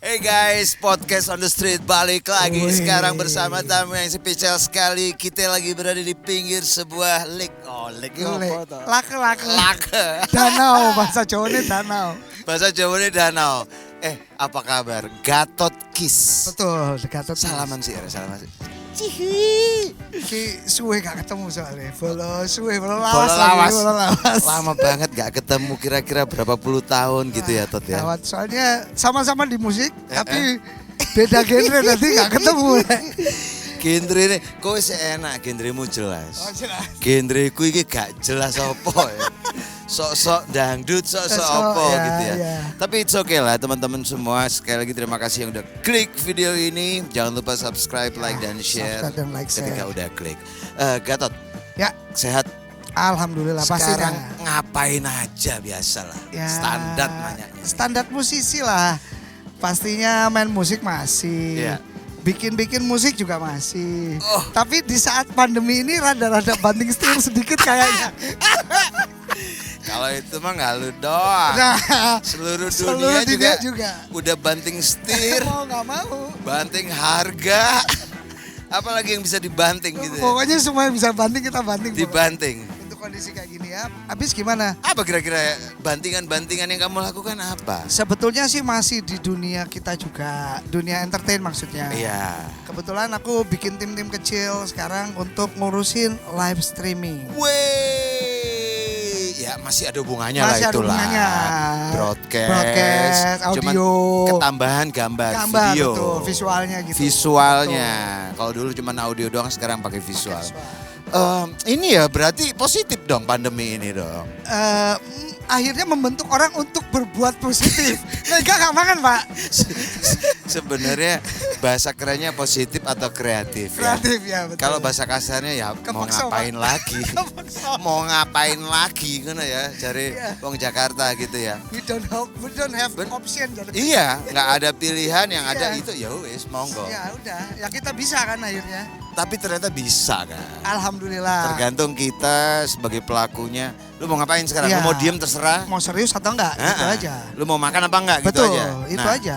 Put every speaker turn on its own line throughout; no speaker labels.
Hey guys, podcast on the street balik lagi sekarang bersama tamu yang spesial sekali. Kita lagi berada di pinggir sebuah lake. Oh, lake
Lek.
apa toh?
Lake-lake.
Lake.
Danau bahasa Jawa ini danau.
Bahasa Jawa danau. Eh, apa kabar? Gatot Kis.
Betul, dekat
Salaman sih, Ra, salaman sih.
Ki suwe gak ketemu soalnya. Bolo suwe, bolo
Bola
lawas.
lawas.
Bolo lawas.
Lama banget gak ketemu kira-kira berapa puluh tahun gitu ya, Tot ya.
Gawat, soalnya sama-sama di musik
Eh,
tapi beda genre nanti gak ketemu. Lek.
Genre ini, kowe sih enak genremu jelas.
Oh, jelas.
Genreku iki gak jelas apa ya. Sok-sok dangdut, sok-sok
Sok-sok,
apa
ya,
gitu ya.
ya.
Tapi it's okay lah teman-teman semua. Sekali lagi terima kasih yang udah klik video ini. Jangan lupa subscribe, like dan share
subscribe dan like,
ketika
share.
udah klik. Eh, Gatot,
Ya,
sehat
alhamdulillah pasti
sekarang
dah.
ngapain aja biasa lah.
Ya,
Standar banyaknya.
Standar musisi lah. Pastinya main musik masih.
Iya.
Bikin-bikin musik juga masih.
Oh.
Tapi di saat pandemi ini rada-rada banting setir sedikit kayaknya.
Kalau itu mah nggak lu doang.
Nah,
Seluruh dunia,
seluruh dunia
juga,
juga.
udah banting setir,
mau nggak mau.
banting harga. Apalagi yang bisa dibanting gitu. ya.
Pokoknya semua yang bisa banting kita banting. pokoknya.
Dibanting.
Untuk kondisi kayak gini ya. Habis gimana?
Apa kira-kira bantingan-bantingan yang kamu lakukan apa?
Sebetulnya sih masih di dunia kita juga, dunia entertain maksudnya.
Iya.
Kebetulan aku bikin tim-tim kecil sekarang untuk ngurusin live streaming.
Weh. Ya masih ada hubungannya
Masih
lah
ada
itulah.
hubungannya.
Broadcast,
Broadcast,
cuman
audio.
ketambahan gambar,
Gambar
video.
betul, visualnya gitu.
Visualnya. Kalau dulu cuman audio doang, sekarang pakai
Betul.
visual.
Pakai visual.
Em, ini ya berarti positif dong pandemi ini dong.
Eh, mm, akhirnya membentuk orang untuk berbuat positif. Mega gak makan pak,
Sebenarnya bahasa kerennya positif atau kreatif ya.
kreatif ya. betul.
Kalau bahasa kasarnya ya mau
Kepaksa,
ngapain
Pak.
lagi? mau ngapain lagi kan ya cari
Iya.
wong Jakarta gitu ya.
we don't have, we don't have
Ben-
option. jadi-
Iya, nggak ada pilihan yang ada
Iya.
itu ya wis monggo.
Ya udah, ya kita bisa kan akhirnya.
Tapi ternyata bisa kan.
Alhamdulillah.
Tergantung kita sebagai pelakunya. Lu mau ngapain sekarang?
Iya.
Lu mau diem terserah.
Mau serius atau enggak? Gitu
Ah, ah.
aja.
Lu mau makan apa enggak
Betul,
gitu aja.
itu
Nah,
aja.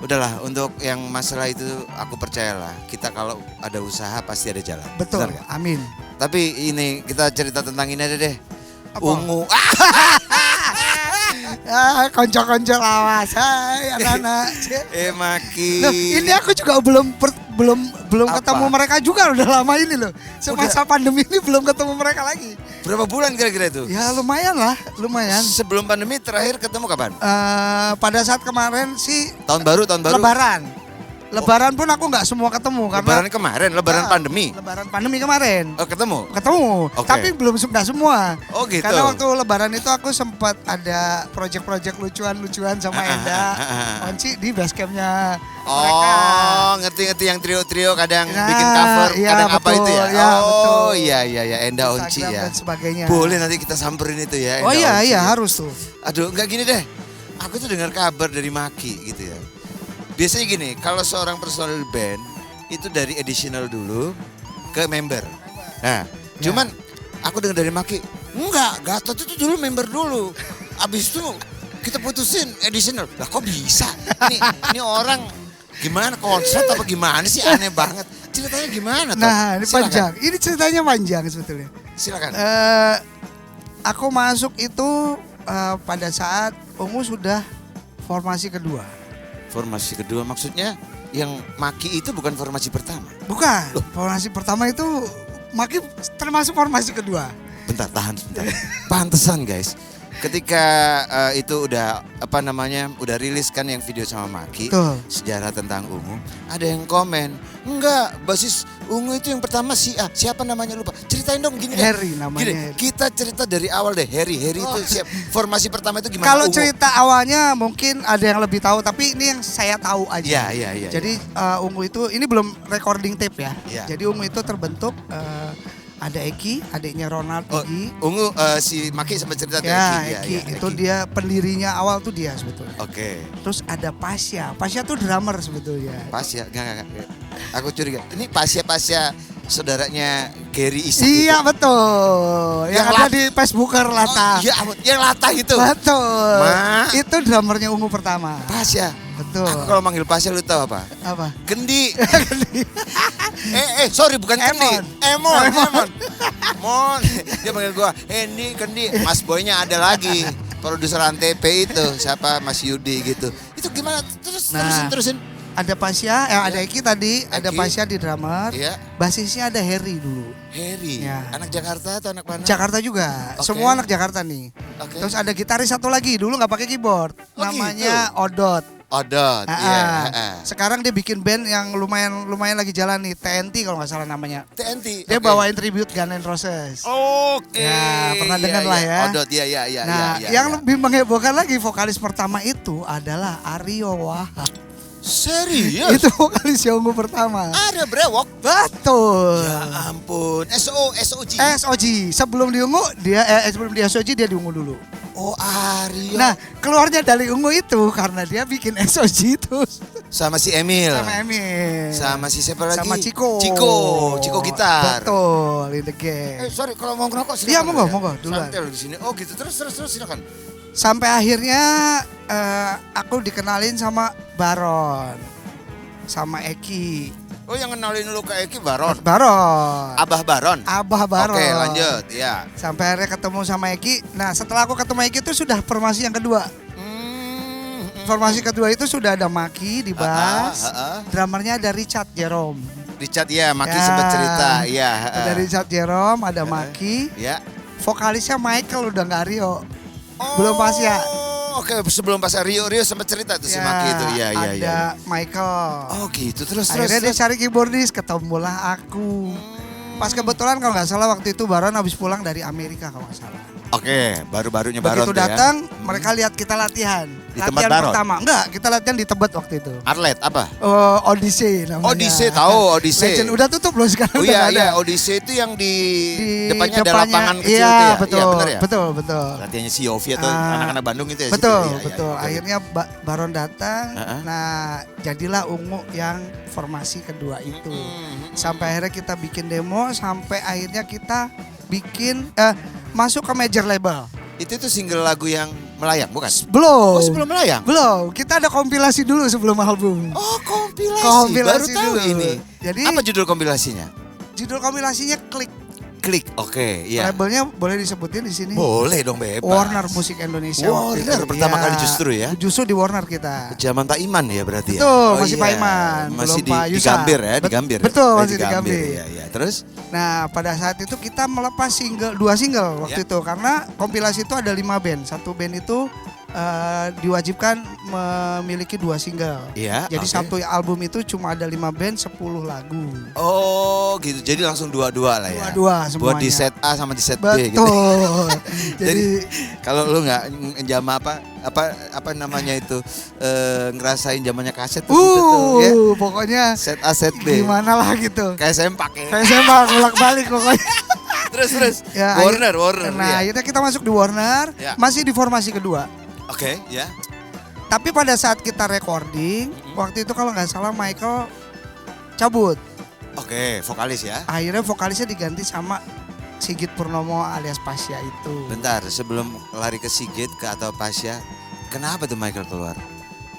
Udahlah, untuk yang masalah itu aku percayalah. Kita kalau ada usaha pasti ada jalan.
Betul.
Benar nggak?
Amin.
Tapi ini kita cerita tentang ini aja deh.
Apa?
Ungu. Ah!
Ah, konco-konco lawas. Hai anak-anak.
Eh Maki.
Loh, ini aku juga belum per- belum belum
Iya. Apa?
ketemu mereka juga loh, udah lama ini loh. Semasa pandemi ini belum ketemu mereka lagi.
Berapa bulan kira-kira itu?
Ya lumayan lah, lumayan.
Sebelum pandemi terakhir ketemu kapan?
Eh, pada saat kemarin sih
Tahun baru, tahun baru. Oh.
Lebaran. Lebaran pun aku nggak semua ketemu karena
Lebaran kemarin, lebaran
Ah,
pandemi.
Lebaran pandemi kemarin.
Oh, ketemu.
ketemu
Oke.
tapi belum sudah semua
Oh, gitu.
karena waktu lebaran itu aku sempat ada project-project lucuan-lucuan
Ah,
sama
ah,
Enda
ah, ah, ah.
Onci di basecampnya mereka
Oh, ngerti-ngerti yang trio-trio kadang
Ya,
bikin cover,
iya,
kadang apa
betul,
itu ya?
iya,
oh,
betul.
iya iya iya Enda
Instagram
Onci ya.
dan sebagainya
Boleh nanti kita samperin itu ya.
oh
Enda
iya
Onci.
iya harus tuh
Aduh, nggak gini deh. Aku tuh dengar kabar dari Maki gitu ya. Biasanya gini, kalau seorang personal band itu dari additional dulu ke member. Nah,
Ya.
cuman aku dengar dari Maki, enggak, Gatot itu dulu member dulu. Abis itu kita putusin additional. Lah kok bisa? Ini ini orang gimana konsep apa gimana sih aneh banget. Ceritanya gimana tuh?
nah ini panjang ini ceritanya panjang sebetulnya
Silakan.
eh aku masuk itu eh, pada saat ungu sudah formasi kedua
Formasi kedua maksudnya yang Maki itu bukan formasi pertama.
bukan formasi pertama itu Maki termasuk formasi kedua
bentar tahan sebentar pantesan guys ketika eh, itu udah apa namanya udah rilis kan yang video sama Maki
Betul.
sejarah tentang ungu ada yang komen enggak basis ungu itu yang pertama si A siapa namanya lupa ceritain dong gini deh.
Harry namanya,
Gini,
Harry. Oh.
kita cerita dari awal deh Harry Harry itu siap formasi pertama itu gimana
Kalau
Ungu?
cerita awalnya mungkin ada yang lebih tahu, tapi ini yang saya tahu
Iya,
aja.
iya, iya,
Jadi eh, Ungu itu ini belum recording tape ya.
Iya.
Jadi Ungu itu terbentuk eh, ada Eki, adiknya Ronald
Oh,
Egi.
ungu eh, si Maki sama cerita dari
ya,
Iya,
Eki
iya,
itu
Eki.
dia pendirinya awal tuh dia sebetulnya.
oke
Terus ada Pasya. Pasya tuh drummer sebetulnya.
Pasya ya, enggak enggak enggak. aku curiga ini Pasya Pasya saudaranya Gary Isak
Iya
itu.
betul. Yang,
Yang
ada
lat-
di Facebooker Lata.
Oh, iya, ampun. yang iya, latah itu.
Betul.
Ma.
Itu drummernya Ungu pertama.
Pas ya.
Betul.
Aku kalau manggil Pasha lu tahu apa?
Apa?
Gendi. eh, eh, sorry bukan Kendi.
Emon.
Emon, Emon. Mon. Dia panggil gua, Hendi, Kendi. Mas Boynya ada lagi. Produser Antep itu, siapa Mas Yudi gitu. Itu gimana? Terus
Nah.
terusin, terusin.
Ada Pasya, eh, ada Eki tadi, ada
Eki.
Pasya di drummer.
Iya.
Basisnya ada Harry dulu.
Harry,
Ya.
anak Jakarta atau anak mana?
Jakarta juga.
Oke.
Semua anak Jakarta nih.
Oke.
Terus ada gitaris satu lagi dulu nggak pakai keyboard.
Oh,
Namanya Odot.
Odot,
Ah,
iya.
ah.
ah.
Sekarang dia bikin band yang lumayan lumayan lagi jalan nih, TNT kalau nggak salah namanya.
TNT.
Dia
oke.
bawain tribute Gun N' Roses.
Oke.
Ya, pernah
Iya,
dengar
iya.
lah ya.
Odot, iya iya iya
nah,
iya, iya,
yang
iya.
lebih menghebohkan lagi vokalis pertama itu adalah Aryo Wahab.
serius.
Itu vokalis Yonggu pertama.
Ada brewok.
Betul.
Ya ampun. SO SOG.
Eh. SOG sebelum di Ungu dia eh, sebelum di SOG dia di Ungu dulu.
Oh Aryo.
Nah, keluarnya dari Ungu itu karena dia bikin SOG itu
sama si Emil.
sama Emil.
Nah. Sama si siapa lagi?
Sama Ciko.
Ciko, Ciko gitar.
Betul, in the
Eh,
game.
sorry kalau mau ngerokok silakan.
Iya, monggo,
ya.
monggo, duluan.
Santai loh di sini. Oh, gitu. Terus terus terus silakan.
Sampai akhirnya eh, aku dikenalin sama Baron. Sama Eki.
Oh, yang kenalin lu ke Eki Baron.
Baron.
Abah Baron.
Abah Baron.
Oke, lanjut. Ya.
Sampai akhirnya ketemu sama Eki. Nah, setelah aku ketemu Eki itu sudah formasi yang kedua.
Hmm, hmm.
Formasi kedua itu sudah ada Maki di bass.
Ah, ah, ah.
Drummernya ada Richard Jerome.
Richard ya, Maki
Ya.
sempat cerita. Iya, heeh.
Ada Richard Jerome, ada Maki.
Ya.
Vokalisnya Michael udah nggak Rio. Belum pas ya.
Oh, Oke, sebelum pas Rio Rio sempat cerita tuh si Maki itu. Iya, iya,
ada
iya.
Michael.
Oh, gitu. Terus terus.
akhirnya dia
terus.
cari keyboardis, ketemulah aku. Pas kebetulan kalau nggak salah waktu itu Baron habis pulang dari Amerika kalau nggak salah.
Oke, baru-barunya Baron tuh
Begitu
ya.
datang, mereka lihat kita latihan.
Di tempat
latihan
Baron?
pertama. Enggak, kita latihan di Tebet waktu itu.
Arlet apa?
Eh, Odyssey namanya.
Odyssey, tahu, Odyssey.
Legend udah tutup loh sekarang.
Oh
udah
iya
nggak ada.
iya Odyssey itu yang di,
Di
depannya, ada
depannya-
lapangan kecil
iya,
itu ya.
Betul,
iya benar ya.
betul, betul.
Latihannya si Yofi atau
Ah,
anak-anak Bandung itu ya. situ
Betul,
ya? Iya, iya,
betul.
iya.
Akhirnya Ba- Baron datang.
Heeh.
Nah, jadilah Ungu yang formasi kedua
Hmm,
itu.
Mm-mm.
Sampai akhirnya kita bikin demo, sampai akhirnya kita bikin eh, masuk ke major label.
Itu tuh single lagu yang melayang bukan?
Belum.
Oh, sebelum melayang.
Belum. Kita ada kompilasi dulu sebelum album.
Oh, kompilasi.
Kompilasi
Baru tahu
dulu.
ini.
Jadi-
apa judul kompilasinya?
Judul kompilasinya Klik.
Klik. Oke, iya.
Labelnya boleh disebutin di sini.
Boleh dong bebas.
Warner Musik Indonesia. waktu
Warner
itu.
pertama
Iya.
kali justru ya.
Justru di Warner kita.
Zaman Pak Iman ya berarti ya.
Betul, masih Pak Iman,
Masih
belum
di,
Pak
di
Yusa.
Gambir ya, di
Bet-
Gambir. ya?
betul,
Eh,
masih di Gambir.
Iya, iya. Terus
Nah, pada saat itu kita melepas single dua single waktu
Ya.
itu karena kompilasi itu ada lima band. Satu band itu eh, diwajibkan memiliki dua single.
Iya,
Jadi
oke.
satu album itu cuma ada lima band, 10 lagu.
Oh gitu, jadi langsung dua-dua lah ya.
Dua-dua
Buat di
semuanya.
set A sama di set B gitu.
Betul.
Jadi
Jadi uh,
kalau lu nggak ng- jama apa apa apa namanya itu eh, ngerasain zamannya kaset tuh, gitu tuh,
uh
ya.
pokoknya
Set A set B.
gimana lah gitu.
Kayak saya pakai.
Kayak saya mah bolak-balik pokoknya.
terus terus.
Ya,
Warner
akhir-
Warner.
Nah,
iya.
akhirnya kita masuk di Warner,
Ya.
masih di formasi kedua.
Oke, ya.
Tapi pada saat kita recording,
Mm-hmm.
waktu itu kalau nggak salah Michael cabut.
Oke, vokalis ya.
Akhirnya vokalisnya diganti sama Sigit Purnomo alias Pasya itu.
Bentar, sebelum lari ke Sigit ke atau Pasya, kenapa tuh Michael keluar?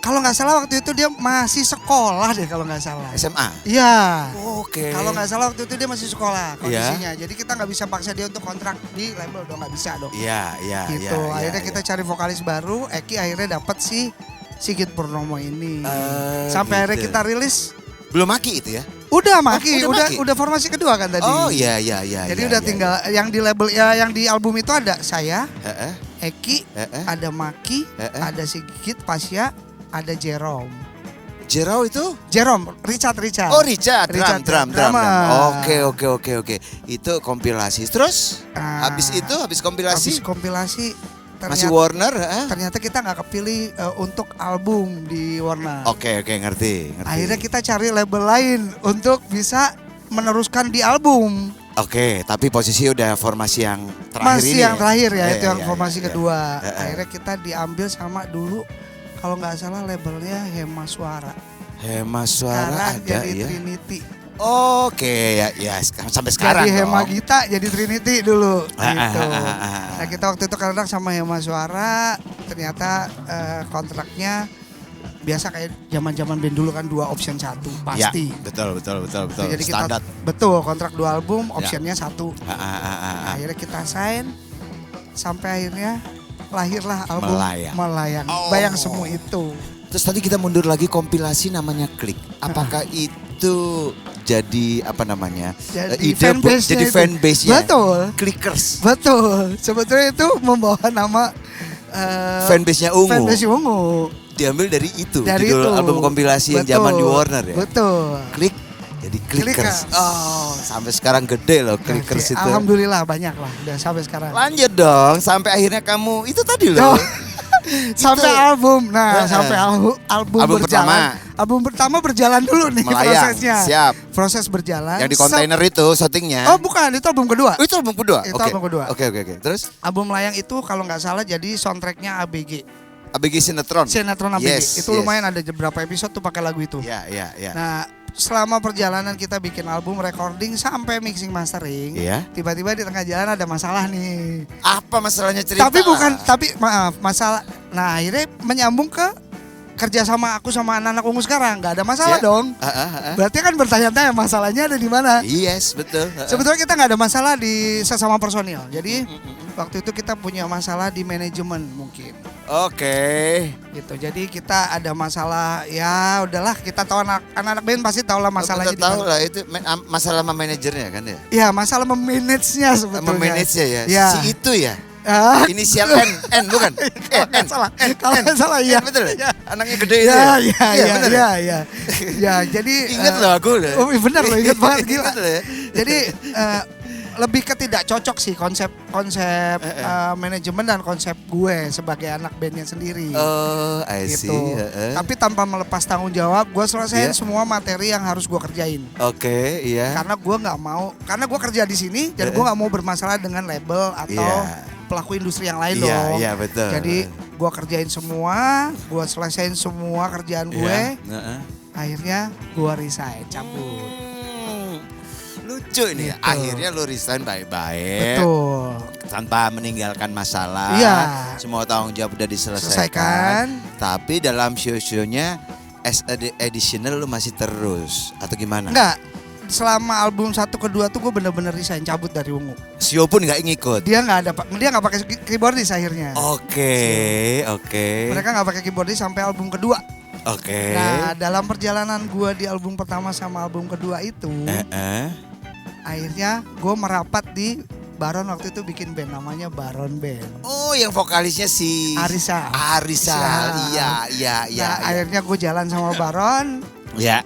Kalau nggak salah waktu itu dia masih sekolah deh kalau nggak salah.
SMA.
Iya.
Oke.
Kalau nggak salah waktu itu dia masih
Iya.
sekolah kondisinya. Jadi kita nggak bisa paksa dia untuk kontrak di label dong nggak bisa dong.
Iya, iya, iya.
gitu.
iya,
akhirnya
iya.
kita cari vokalis baru. Eki akhirnya dapat si Sigit Purnomo ini.
Eh,
Sampai akhirnya
gitu.
kita rilis
belum maki itu ya?
Udah Maki,
udah
udah
Maki?
udah formasi kedua kan tadi.
Oh iya iya iya.
Jadi
iya,
udah
iya,
tinggal yang di label ya yang di album itu ada saya,
iya. Heeh,
Eki,
heeh.
ada Maki,
Eh, eh.
ada Sigit, Pasya, ada Jerome.
Jerau itu?
Jerome, Richard, Richard.
Oh Richard,
Iya. Richard,
drum, drum, drum,
drummer.
drum. Oke oke oke oke. Itu kompilasi. Terus
Ah,
habis itu habis
habis
kompilasi
kompilasi
masih
ternyata
Warner? ah?
ternyata kita nggak kepilih eh, untuk album di Warner.
Oke oke ngerti ngerti.
Akhirnya kita cari label lain untuk bisa meneruskan di album.
Oke, tapi posisi udah formasi yang terakhir
Masih
ini.
yang terakhir ya,
Iya,
itu yang
iya,
formasi
iya, iya.
kedua.
Heeh.
Akhirnya kita diambil sama dulu kalau nggak salah labelnya Hema Suara.
Hema suara ada
Sekarang jadi
ya.
Trinity.
Oke ya ya sekarang- sampai sekarang.
jadi
dong.
Hema Gita jadi Trinity dulu
Ah, ah,
gitu.
ah, ah, ah.
Nah, kita waktu itu kadang sama Hema Suara ternyata eh, kontraknya biasa kayak zaman-zaman band dulu kan dua option satu pasti.
Ya, betul betul betul betul.
Jadi kita
Standar. Ya.
betul kontrak dua album optionnya satu.
Ah, ah, ah, ah, ah.
Akhirnya kita sign sampai akhirnya lahirlah album
Melayang.
Melayang.
Oh.
Bayang semu itu.
Terus tadi kita mundur lagi kompilasi namanya Klik. Apakah itu jadi apa namanya?
Jadi
Eh, ide buat-
fanbase-nya
jadi
itu.
fanbase-nya.
Betul.
Clickers.
Betul. Sebetulnya itu membawa nama eh,
Fanbase-nya Ungu.
fanbase Ungu.
Diambil dari itu
Dari
judul
itu.
album kompilasi yang
Betul.
zaman di Warner ya.
Betul.
Klik jadi Clickers.
Clickers.
Oh, sampai sekarang gede loh Clickers
Jadi,
itu.
Alhamdulillah banyak lah udah sampai sekarang.
Lanjut dong sampai akhirnya kamu itu tadi loh.
Oh. sampai
Itu.
album. Nah,
Heeh.
sampai albu- album,
Album
berjalan.
pertama.
Album pertama berjalan dulu nih
Melayang.
prosesnya.
Siap.
Proses berjalan.
Yang di kontainer itu syutingnya.
Sam- Oh, bukan, itu album kedua.
Oh, itu album kedua.
Itu
Oke.
album kedua.
Oke oke oke. Terus
Album Melayang itu kalau nggak salah jadi soundtracknya ABG.
ABG sinetron.
Sinetron ABG.
Yes,
itu
yes.
lumayan ada beberapa episode tuh pakai lagu itu.
Ya ya ya.
Nah, selama perjalanan kita bikin album, recording sampai mixing mastering,
Iya.
tiba-tiba di tengah jalan ada masalah nih.
Apa masalahnya cerita?
tapi bukan, tapi maaf masalah. Nah, akhirnya menyambung ke kerja sama aku sama anak-anak ungu sekarang, nggak ada masalah
Iya.
dong.
Ah, ah, ah, ah.
Berarti kan bertanya-tanya masalahnya ada di mana?
Yes, betul. Ah, ah.
Sebetulnya kita nggak ada masalah di sesama personil. Jadi waktu itu kita punya masalah di manajemen mungkin
Oke.
gitu. Jadi kita ada masalah ya udahlah kita tahu anak anak band pasti tahu lah masalahnya
Masalahnya
di mana.
tahu lah itu men- am- masalah sama manajernya kan ya.
Ya masalah memanage-nya sebetulnya.
Memanage ya.
Ya.
Si itu ya.
Ah,
Inisial N, N bukan? eh,
kalau nggak salah, kalau nggak salah
Iya
ya.
betul. Anaknya gede itu.
Ya, ya, ya,
betul
ya, ya. Ya, jadi
iya, Ingat
eh,
loh aku loh.
Oh, benar loh, ingat banget gila.
Ingat loh ya.
Jadi eh, lebih ke tidak cocok sih konsep konsep
Eh, eh.
eh, manajemen dan konsep gue sebagai anak bandnya sendiri.
Oh, I see.
Hmm. gitu.
Heeh.
Tapi tanpa melepas tanggung jawab, gue
Iya.
selesaiin semua materi yang harus gue kerjain.
Oke, iya.
Karena gue nggak mau, karena gue kerja di sini dan
Eh,
gue
eh.
nggak mau bermasalah dengan label atau
Iya.
pelaku industri yang lain
Iya,
dong.
iya betul.
Jadi gua kerjain semua, gua selesain semua kerjaan gue,
Iya, heeh.
akhirnya gua resign, cabut.
Hmm, Lucu ini ya.
Gitu.
Akhirnya lu resign baik-baik.
Betul.
tanpa meninggalkan masalah.
Iya.
Semua tanggung jawab udah diselesaikan.
Selesaikan.
Tapi dalam show-shownya as ad- additional lu masih terus atau gimana?
Enggak, selama album satu kedua tuh gue bener-bener resign cabut dari Ungu.
Sio pun nggak ngikut.
Dia nggak ada, pa- dia nggak pakai ki- keyboardis akhirnya.
Oke, oke,
Mereka nggak pakai keyboardis sampai album kedua.
oke.
Nah, dalam perjalanan gua di album pertama sama album kedua itu,
Eh, eh.
akhirnya gue merapat di Baron waktu itu bikin band namanya Baron Band.
Oh, yang vokalisnya si
Arisal.
Arisal.
Arisal.
Iya, iya, iya.
nah, akhirnya gue jalan sama Baron,
Iya.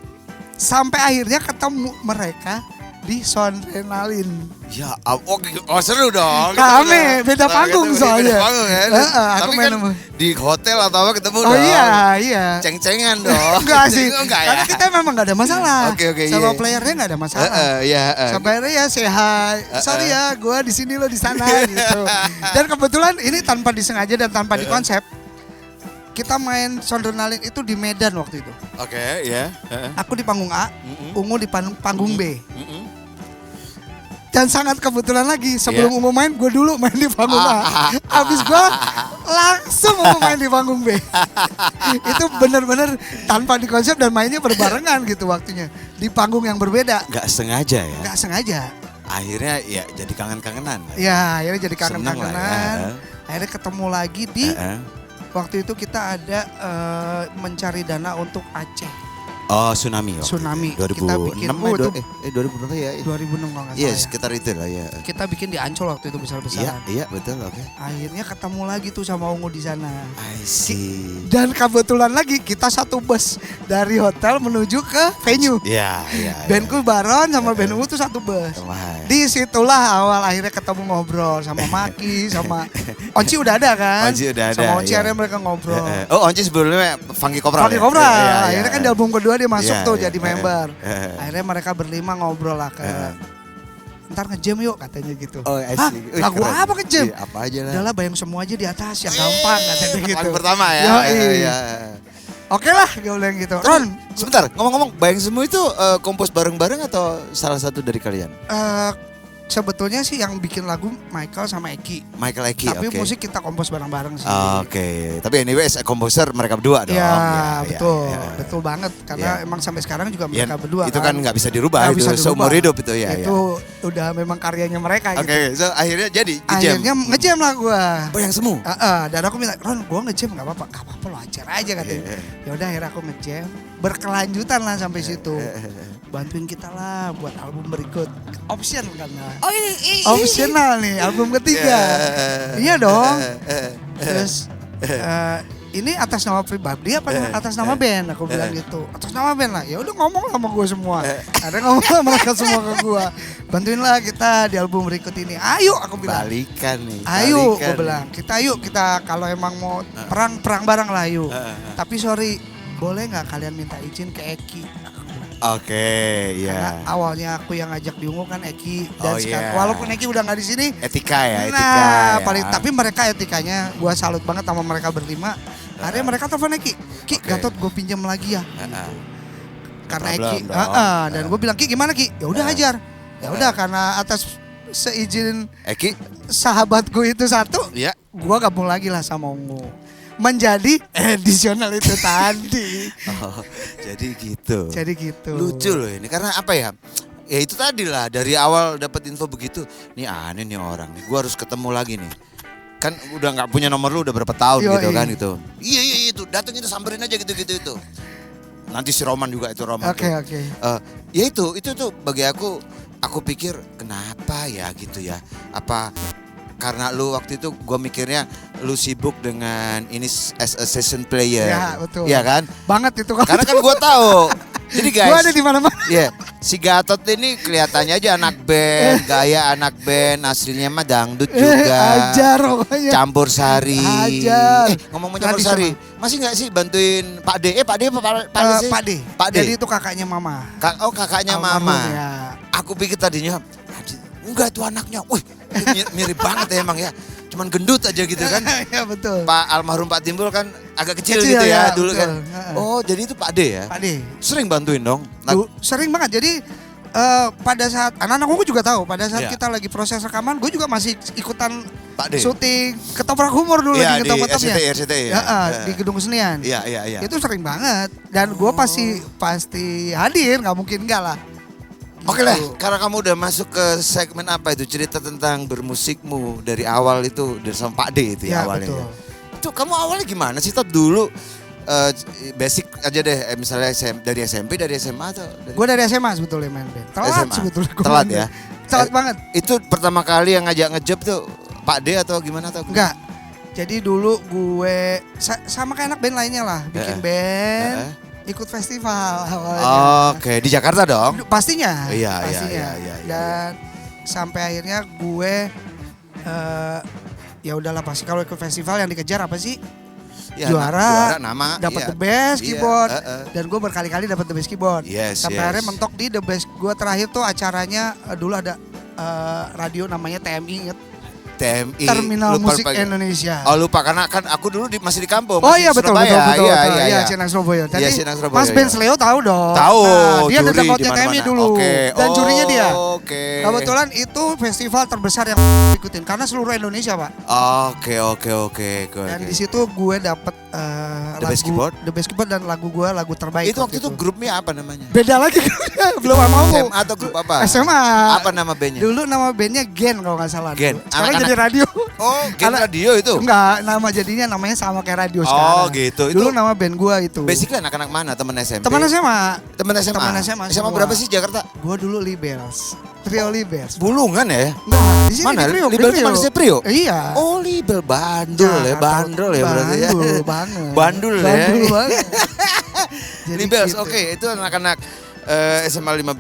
sampai akhirnya ketemu mereka di Sonrenalin.
Ya, ab- oh, oh seru dong.
Rame, beda
Nah,
panggung
ketemu,
soalnya.
Beda panggung ya.
Eh, eh, aku
Tapi
main
kan
sama-
di hotel atau apa ketemu
Oh
dong.
iya, iya.
Ceng-cengan dong.
Enggak sih.
Oh, Enggak ya.
Karena kita memang enggak ada masalah.
Oke, oke,
Sama
iya.
playernya enggak ada masalah.
Eh, eh, iya, eh.
Sampai akhirnya ya say hi.
Eh,
Sorry ya, gua di sini lo di sana gitu. Dan kebetulan ini tanpa disengaja dan tanpa
Eh,
dikonsep. Kita main Sondrenalin itu di Medan waktu itu.
Oke, iya. Heeh.
Aku di panggung A,
Mm-mm.
Ungu di pan- panggung B.
Mm-mm.
Dan sangat kebetulan lagi sebelum
Iya.
Ungu main, gue dulu main di panggung A. Abis gue langsung Ungu main di panggung B. itu bener-bener tanpa dikonsep dan mainnya berbarengan gitu waktunya di panggung yang berbeda.
Nggak sengaja ya.
Gak sengaja.
Akhirnya ya jadi kangen-kangenan.
Ya akhirnya jadi
Seneng lah ya.
kangen-kangenan. Akhirnya ketemu lagi di
Heeh.
waktu itu kita ada eh, mencari dana untuk Aceh
Oh, tsunami. waktu
Tsunami.
itu.
Kita
2006 eh,
bikin- oh, itu-
dua- eh, eh, 2006 ya. eh.
2006 kalau nggak
Iya,
salah. ya.
sekitar itu lah ya.
Kita bikin di Ancol waktu itu
Iya,
besar-besaran.
iya betul, oke.
Akhirnya ketemu lagi tuh sama Ungu di sana.
I see.
Dan kebetulan lagi kita satu bus dari hotel menuju ke venue.
Iya, iya. iya. ya.
Bandku Baron sama band Ungu tuh satu bus.
Wah.
Disitulah awal akhirnya ketemu ngobrol sama Maki, sama Onci udah ada kan?
Onci udah ada,
Sama Onci
iya.
akhirnya mereka ngobrol.
Eh, eh. Oh, Onci sebelumnya Funky ya? Iya, Kopra.
Pakai Kobra, akhirnya kan di album kedua dia masuk
Iya,
tuh
iya,
jadi
iya.
member.
Iya.
Akhirnya mereka berlima ngobrol lah ke,
Iya.
ntar ngejam yuk katanya gitu.
Oh, I
Hah,
see. Wih,
lagu
keren.
apa ngejam?
Iya, Apa aja lah.
Udahlah bayang semua aja di atas yang gampang katanya
Pertemuan
gitu.
pertama ya.
Yoi.
Iya, iya.
Oke lah gue bilang gitu. Ron,
Ron, sebentar ngomong-ngomong, Bayang Semu itu eh, kompos bareng-bareng atau salah satu dari kalian?
eh, sebetulnya sih yang bikin lagu Michael sama Eki.
Michael Eki,
Tapi
oke.
musik kita kompos bareng-bareng sih.
Oke, tapi anyway as a composer mereka berdua dong.
ya,
ya,
betul,
ya.
betul banget karena
Ya.
emang sampai sekarang juga
Ya,
mereka berdua
itu kan nggak bisa dirubah
Nggak
itu
bisa
seumur
dirubah.
hidup itu ya. ya.
itu udah memang karyanya mereka
Oke,
gitu.
so akhirnya jadi ngejam. Oh, iya.
Akhirnya ngejam lah gua.
yang semu.
Ah, ah, dan aku minta, Ron gue ngejam gak apa-apa, gak apa-apa lo ajar aja katanya.
Iya.
Ya udah akhirnya aku ngejam, berkelanjutan lah sampai situ.
iya,
Bantuin kita lah buat album berikut. Option kan lah.
Oh ini, ini-
iya.
Optional nih, album ketiga.
Ya.
Iya dong. Terus eh, ini atas nama pribadi apa atas nama band? Aku bilang gitu. Atas nama band lah. Ya udah ngomong sama gue semua. Ada ngomong sama mereka semua ke gue. Bantuinlah kita di album berikut ini. Ayo aku bilang.
Balikan nih. balikan.
Ayo gue bilang. Kita yuk kita kalau emang mau perang perang bareng lah yuk.
Eh, eh, eh.
Tapi sorry boleh nggak kalian minta izin ke Eki?
Ya. Oke, ya.
Karena awalnya aku yang ngajak diungu kan Eki dan
Oh, iya.
sekarang- walaupun Eki udah nggak di sini,
Etika ya, etika.
Nah,
ya.
paling tapi mereka etikanya gua salut banget sama mereka berlima. Akhirnya mereka telepon Eki,
Oke.
Ki Gatot gue pinjam lagi ya,
Eh, eh.
karena
problem
Eki.
dong.
Ah, ah. dan
Eh.
gue bilang Ki gimana Ki? Ya udah
Eh.
ajar. Ya udah karena atas seizin
Eki,
sahabatku itu satu,
ya.
gua gabung lagi lah sama Ungu. Menjadi edisional itu tadi.
Oh, jadi gitu.
Jadi gitu.
Lucu loh ini karena apa ya? Ya itu tadi lah dari awal dapat info begitu. Nih aneh nih orang nih. Gua harus ketemu lagi nih. Kan udah nggak punya nomor lu udah berapa tahun
Yoi.
gitu kan gitu. Iya iya iya, itu datang itu samperin aja gitu gitu itu. Nanti si Roman juga itu Roman.
Oke,
tuh.
oke.
Eh, ya itu itu tuh bagi aku aku pikir kenapa ya gitu ya. Apa karena lu waktu itu gua mikirnya lu sibuk dengan ini as a session player.
Ya, betul.
Iya kan?
Banget itu kalau
Karena kan gua tahu. Jadi guys,
gua ada di mana-mana.
Iya, si Gatot ini kelihatannya aja anak band, gaya anak band, aslinya mah dangdut juga.
Ajar pokoknya.
Campur sari.
Ajar.
Eh, ngomong campur sari. Masih nggak sih bantuin Pak D? Eh, Pak D apa Pak, Pak D
Eh,
sih?
Pak D.
Pak D.
Jadi itu kakaknya Mama.
Ka- oh, kakaknya
Almarhum,
Mama.
ya.
Aku pikir tadinya, "Adi, enggak itu anaknya. Wih, itu mir- mirip banget ya emang ya. Cuman gendut aja gitu kan.
ya betul.
Pak almarhum Pak Timbul kan agak kecil,
Kecil,
gitu ya,
ya,
dulu
betul.
kan.
Heeh.
Oh, jadi itu Pak D ya?
Pak De.
Sering bantuin dong. Nah,
Du- sering banget. Jadi eh, pada saat anak-anak gue juga tahu pada saat
Iya.
kita lagi proses rekaman, gue juga masih ikutan
Pak D.
syuting ketoprak humor dulu
Iya,
di
di
ketopraknya.
RCTI, RCTI.
Ya, eh, di gedung kesenian.
Iya, iya, iya.
Itu sering banget dan
Oh.
gue pasti pasti hadir, nggak mungkin enggak lah.
Oke lah,
Gitu.
karena kamu udah masuk ke segmen apa itu cerita tentang bermusikmu dari awal itu dari sama Pak D itu ya,
Ya,
awalnya.
betul.
Itu kamu awalnya gimana sih? Tat dulu eh, basic aja deh, eh, misalnya SM dari SMP, dari SMA atau dari
Gue dari SMA sebetulnya main band. Telat
SMA?
sebetulnya gua
Telat
main
ya?
band. Telat
Eh,
banget.
Itu pertama kali yang ngajak ngejeb tuh Pak D atau gimana atau
Enggak. Jadi dulu gue sa- sama kayak anak band lainnya lah, bikin
Eh, eh.
band,
Eh, eh.
ikut festival awalnya.
Oke, di Jakarta dong.
Du- Pastinya.
Iya, iya,
pastinya.
iya, iya, iya.
Dan sampai akhirnya gue eh ya udahlah pasti kalau ikut festival yang dikejar apa sih?
Ya, juara
juara,
nama,
dapat
iya.
the best
Iya,
keyboard
eh, eh.
dan gue berkali-kali dapat the best keyboard.
Yes,
sampai
yes.
akhirnya mentok di the best. Gue terakhir tuh acaranya eh, dulu ada eh, radio namanya TMI inget?
TMI.
Terminal
lupa-
Musik
lupa-
Indonesia.
Oh lupa karena kan aku dulu di- masih di kampung.
Oh
masih
iya
di
betul
Surabaya.
betul betul
Iya, iya,
betul. Iya,
iya.
Cinang Surabaya. Tadi
Iya, Cinang Surabaya,
Mas Ben
iya.
Sleo tahu dong.
Tahu.
Nah, dia ada
juri
dekotnya
di
TMI
mana-mana.
dulu
Oke,
dan
oh,
jurinya dia.
Oke.
Kebetulan itu festival terbesar yang ikutin karena seluruh Indonesia, Pak.
Oke, oke, oke, oke.
Dan
oke.
di situ gue dapet eh,
The
lagu
Best Keyboard?
The Best Keyboard dan lagu gue lagu terbaik.
Itu waktu itu grupnya apa namanya?
beda lagi belum mau
SMA atau grup apa?
SMA.
Apa nama bandnya?
Dulu nama bandnya Gen kalau nggak salah.
Gen.
dulu. Sekarang
Anak-anak-
jadi radio.
Oh, Gen
Anak-
Radio itu.
Enggak, nama jadinya namanya sama kayak
Oh,
radio sekarang.
gitu.
Dulu
Itu-
nama band gue itu.
Basically anak-anak mana? Teman SMP.
Teman SMA.
Teman SMA.
Teman SMA
SMA
semua.
berapa sih Jakarta?
Gue dulu Libels, Trio Libels.
Bulungan ya?
Nah, di sini
Mana?
di Trio, di
Libel itu mana sih, Trio?
Iya.
Oh, libel bandul ya,
Jakarta.
bandul ya berarti ya.
Bandul banget.
Bandul ya.
Bandul banget. Jadi
Libels,
gitu.
oke itu anak-anak eh, SMA 15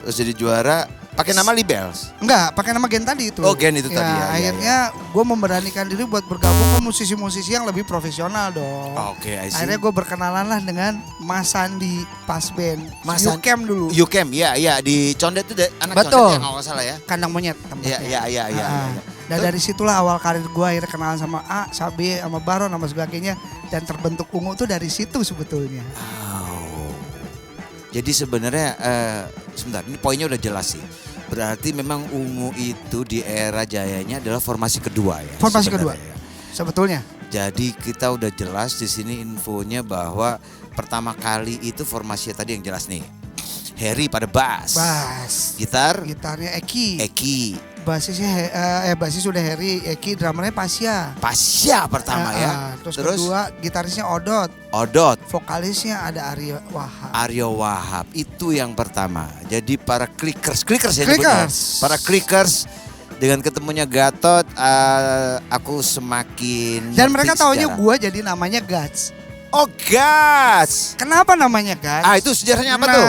terus jadi juara pakai nama Libels.
Enggak, pakai nama Gen tadi itu.
Oh, Gen itu tadi, ya, iya,
akhirnya gue memberanikan diri buat bergabung ke musisi-musisi yang lebih profesional dong.
Oke, Oh, I see.
Akhirnya gue berkenalan lah dengan Mas Sandi pas band.
Mas Sandi-
Camp dulu.
Yukem, ya ya di Condet itu de- anak
Betul.
Condet ya kalau nggak salah ya.
Kandang monyet
Iya,
tempatnya.
iya, iya, iya.
Ah,
iya.
Dan
Terus?
dari situlah awal karir gue akhirnya kenalan sama A, sama B, sama Baron, sama sebagainya. Dan terbentuk ungu tuh dari situ sebetulnya.
Oh. Jadi sebenarnya eh sebentar ini poinnya udah jelas sih. Berarti memang Ungu itu di era jayanya adalah formasi kedua ya.
Formasi
sebenarnya
kedua.
ya.
Sebetulnya.
Jadi kita udah jelas di sini infonya bahwa pertama kali itu formasi tadi yang jelas nih. Harry pada bass.
Bas.
Gitar
Gitarnya Eki.
Iya. Eki.
Basisnya He- eh, eh basis sudah Heri, Eki dramernya Pasya.
Pasya pertama
Eh,
ya.
eh, terus, kedua gitarisnya Odot,
Odot
vokalisnya ada Arya Wahab.
Aryo Wahab itu yang pertama. Jadi para clickers, clickers ya
Clickers.
nyebutnya. Para clickers dengan ketemunya Gatot eh, aku semakin
Dan mereka
ngerti
taunya
sejarah.
gua jadi namanya Gats.
Oh, gas.
Kenapa namanya Gats?
Ah, itu sejarahnya apa
nah,
tuh?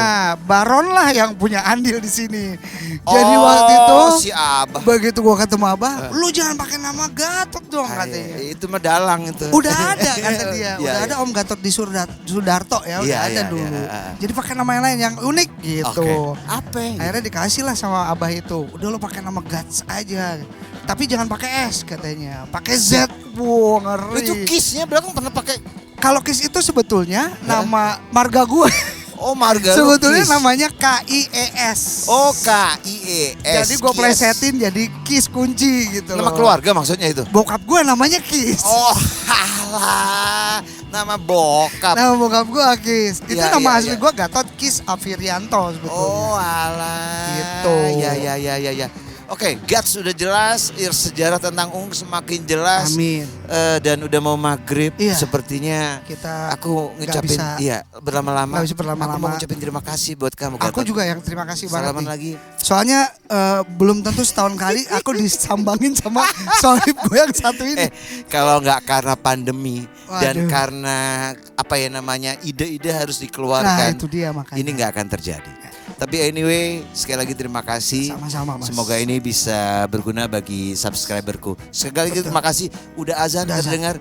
Baron lah yang punya andil di sini. Jadi waktu
Oh,
itu
si Abah.
begitu gua ketemu Abah,
Eh.
lu jangan pakai nama Gatot dong
Ah,
katanya.
iya, Itu mah dalang itu.
Udah ada kata dia,
Iya,
udah
iya.
ada Om Gatot di Surda- Sudarto ya, udah
Iya,
ada
iya,
dulu.
iya, iya.
Jadi pakai nama yang lain yang unik gitu.
Oke. Apa? yang-
Akhirnya dikasih lah sama abah itu. Udah lo pakai nama Gats aja. Tapi jangan pakai S katanya. Pakai Z. Wow, ngeri.
Itu kisnya belakang pernah pakai
Kalau Kis itu sebetulnya nama marga gue.
Oh, Marga
sebetulnya
Kiss.
namanya K I E S.
Oh, K I E S.
Jadi gue
Kiss.
plesetin jadi Kis kunci gitu.
Nama
loh.
keluarga maksudnya itu.
Bokap gue namanya Kis.
Oh, halah. Nama bokap.
Nama bokap gue Kis. Itu
Iya,
nama
iya,
asli
iya.
gue Gatot Kis Afirianto sebetulnya.
Oh, alah.
Gitu.
Ya, ya, ya, ya, ya. Oke, Gats sudah jelas, ir- sejarah tentang Ung semakin jelas.
Amin.
Eh, dan udah mau maghrib,
Iya.
sepertinya
Kita
aku
nggak
ngucapin,
bisa-
iya, berlama-lama.
nggak bisa berlama-lama.
Aku mau ngucapin terima kasih buat kamu. Gatot.
Aku juga yang terima kasih banget
Salaman
nih.
lagi.
Soalnya eh, belum tentu setahun kali aku disambangin sama sohib gue yang satu ini.
Eh, kalau nggak karena pandemi dan
Waduh.
karena apa ya namanya ide-ide harus
nah
dikeluarkan,
itu dia makanya.
ini nggak akan terjadi. Tapi anyway, sekali lagi terima kasih.
sama-sama mas.
Semoga ini bisa berguna bagi subscriberku. Sekali lagi terima kasih udah azan
Udah
udah
azan.
dengar.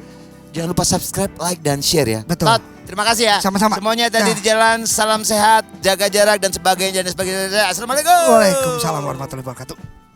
Jangan lupa subscribe, like dan share ya.
Betul.
Tot, terima kasih ya.
Sama-sama. Nah.
Semuanya tadi
Dah.
di jalan salam sehat, jaga jarak dan sebagainya dan sebagainya. Assalamualaikum.
Waalaikumsalam warahmatullahi wabarakatuh.